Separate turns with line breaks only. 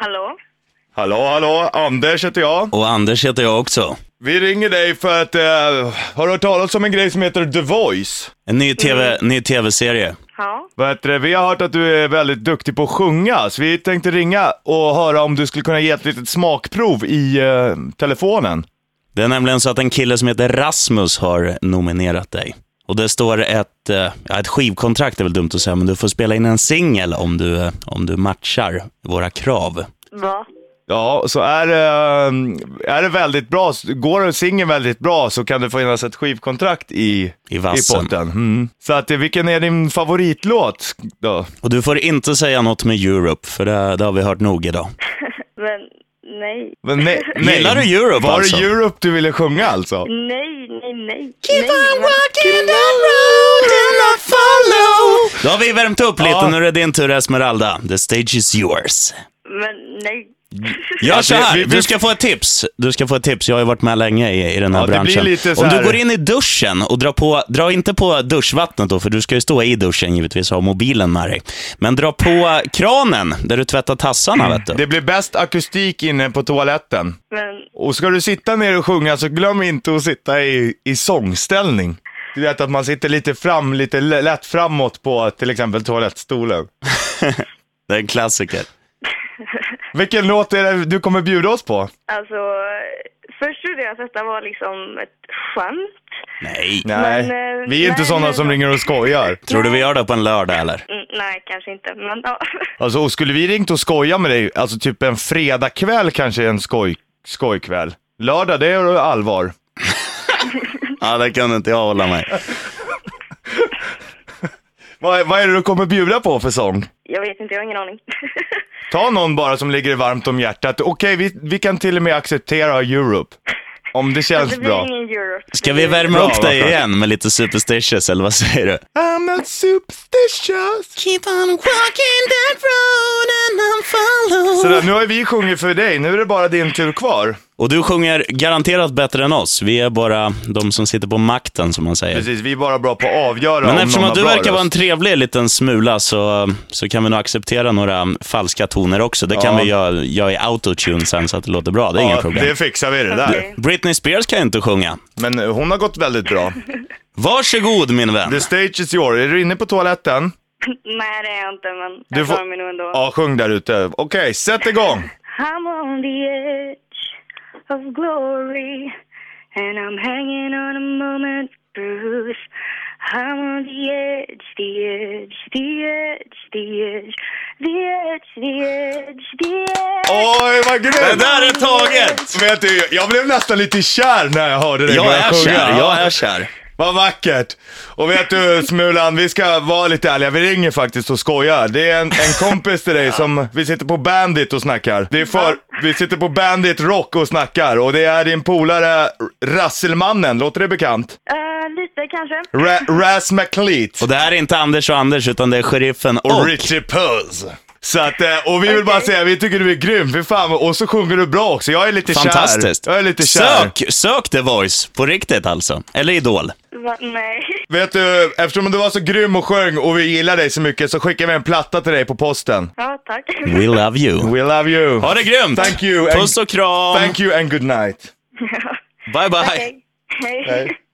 Hallå?
Hallå, hallå! Anders heter jag.
Och Anders heter jag också.
Vi ringer dig för att, eh, har du hört talas om en grej som heter The Voice?
En ny, TV,
Mm.
ny tv-serie.
Ja.
Vad heter det? Vi har hört att du är väldigt duktig på att sjunga, så vi tänkte ringa och höra om du skulle kunna ge ett litet smakprov i eh, telefonen.
Det är nämligen så att en kille som heter Rasmus har nominerat dig. Och det står ett, eh, ja, ett skivkontrakt, är väl dumt att säga, men du får spela in en singel om du, eh, om du matchar våra krav.
Va?
Ja, så är, det- är det väldigt bra, går singeln väldigt bra så kan det finnas ett skivkontrakt i,
I vassen.
potten. Mm. Så att, eh, vilken är din favoritlåt då?
Och du får inte säga något med Europe, för det, det har vi hört nog idag.
Men nej.
Men nej, nej.
Gillar du Europe
Var
alltså?
det Europe du ville sjunga alltså?
Nej, nej, nej. nej,
Då har vi värmt upp lite,
Ja.
nu är det din tur Esmeralda. The stage is yours.
men, men nej.
Mm.
Gör så
vi-
här,
Alltså, vi- vi-
du ska få ett tips. Du ska få ett tips, jag har ju varit med länge i, i den här
Ja, det blir
branschen.
lite så
Om
här-
du går in i duschen och drar på, dra inte på duschvattnet då, för du ska ju stå i duschen givetvis och ha mobilen med dig. Men dra på kranen där du tvättar tassarna vet du.
Det blir bäst akustik inne på toaletten.
Men
Och ska du sitta ner och sjunga så glöm inte att sitta i, i sångställning. Du vet att man sitter lite fram, lite l- lätt framåt på till exempel toalettstolen.
Det är en klassiker.
Vilken låt är det du kommer bjuda oss på?
alltså, först trodde jag att detta var liksom ett skämt.
Nej.
Nej,
Men, eh,
vi är inte
nej,
sådana
men-
som ringer och skojar.
Tror du vi gör det på en lördag eller?
Mm, nej, kanske inte. Men ja.
Alltså, och skulle vi ringt och skoja med dig, alltså typ en fredagkväll kanske är en skoj, skojkväll. Lördag, det är allvar.
Ja, det kunde inte jag hålla mig.
Vad, vad är det du kommer bjuda på för sång?
Jag vet inte, jag har ingen aning.
Ta någon bara som ligger varmt om hjärtat. Okej, vi, vi kan till och med acceptera Europe. Om det känns
Det blir
Alltså, bra.
ingen Europe.
Ska vi värma
Bra,
upp
vad
dig
skönt.
igen med lite superstitious eller vad säger du?
I'm not superstitious.
Keep on walking that road and I'm follow.
Sådär, nu har vi sjungit för dig. Nu är det bara din tur kvar.
Och du sjunger garanterat bättre än oss. Vi är bara de som sitter på makten, som man säger.
Precis, vi är bara bra på att avgöra
Men
om
eftersom
någon
att du
har bra
verkar vara en
röst.
trevlig liten smula så, så kan vi nog acceptera några falska toner också. Det kan
Ja.
vi göra, göra i autotune sen så att det låter bra. Det är inga problem.
det fixar vi det där.
Okej.
Britney Spears kan ju inte sjunga.
Men eh, hon har gått väldigt bra.
Varsågod min vän.
The stage is yours. Är du inne på toaletten?
Nej, det är jag inte, men
Du
jag
får-
klarar mig nog ändå.
Ja, sjung där ute. Okej, sätt igång.
I'm on the edge of glory, and I'm hanging on a moment, Bruce. I'm on the edge, the edge, the edge, the edge, the edge, the edge, the edge.
Oj, vad grymt!
Det där är taget!
Vet du, jag blev nästan lite kär när jag hörde dig
Jag
börja
är
sjunga.
kär,
Ja.
jag är kär.
Vad vackert! Och vet du Smulan, vi ska vara lite ärliga. Vi ringer faktiskt och skojar. Det är en, en kompis till dig som, vi sitter på Bandit och snackar. Det är för, vi sitter på Bandit Rock och snackar och det är din polare Rasselmannen, låter det bekant?
Eh, lite kanske.
Ra- Raz McLeet
Och det här är inte Anders och Anders, utan det är sheriffen och...
och Richie Puss. Så att, eh, och vi vill bara säga, vi tycker du är grym, för fan, och så sjunger du bra också. Jag är lite
Fantastiskt.
kär. Jag är lite kär.
Sök, sök The Voice, på riktigt alltså. Eller Idol.
Va, nej.
Vet du, eftersom du var så grym och sjöng och vi gillar dig så mycket så skickar vi en platta till dig på posten.
Ja, tack.
We love you.
We love you.
Ha det grymt!
Thank you.
Puss och kram!
Thank you and good night.
Bye bye!
Okej. Hej.
Hej.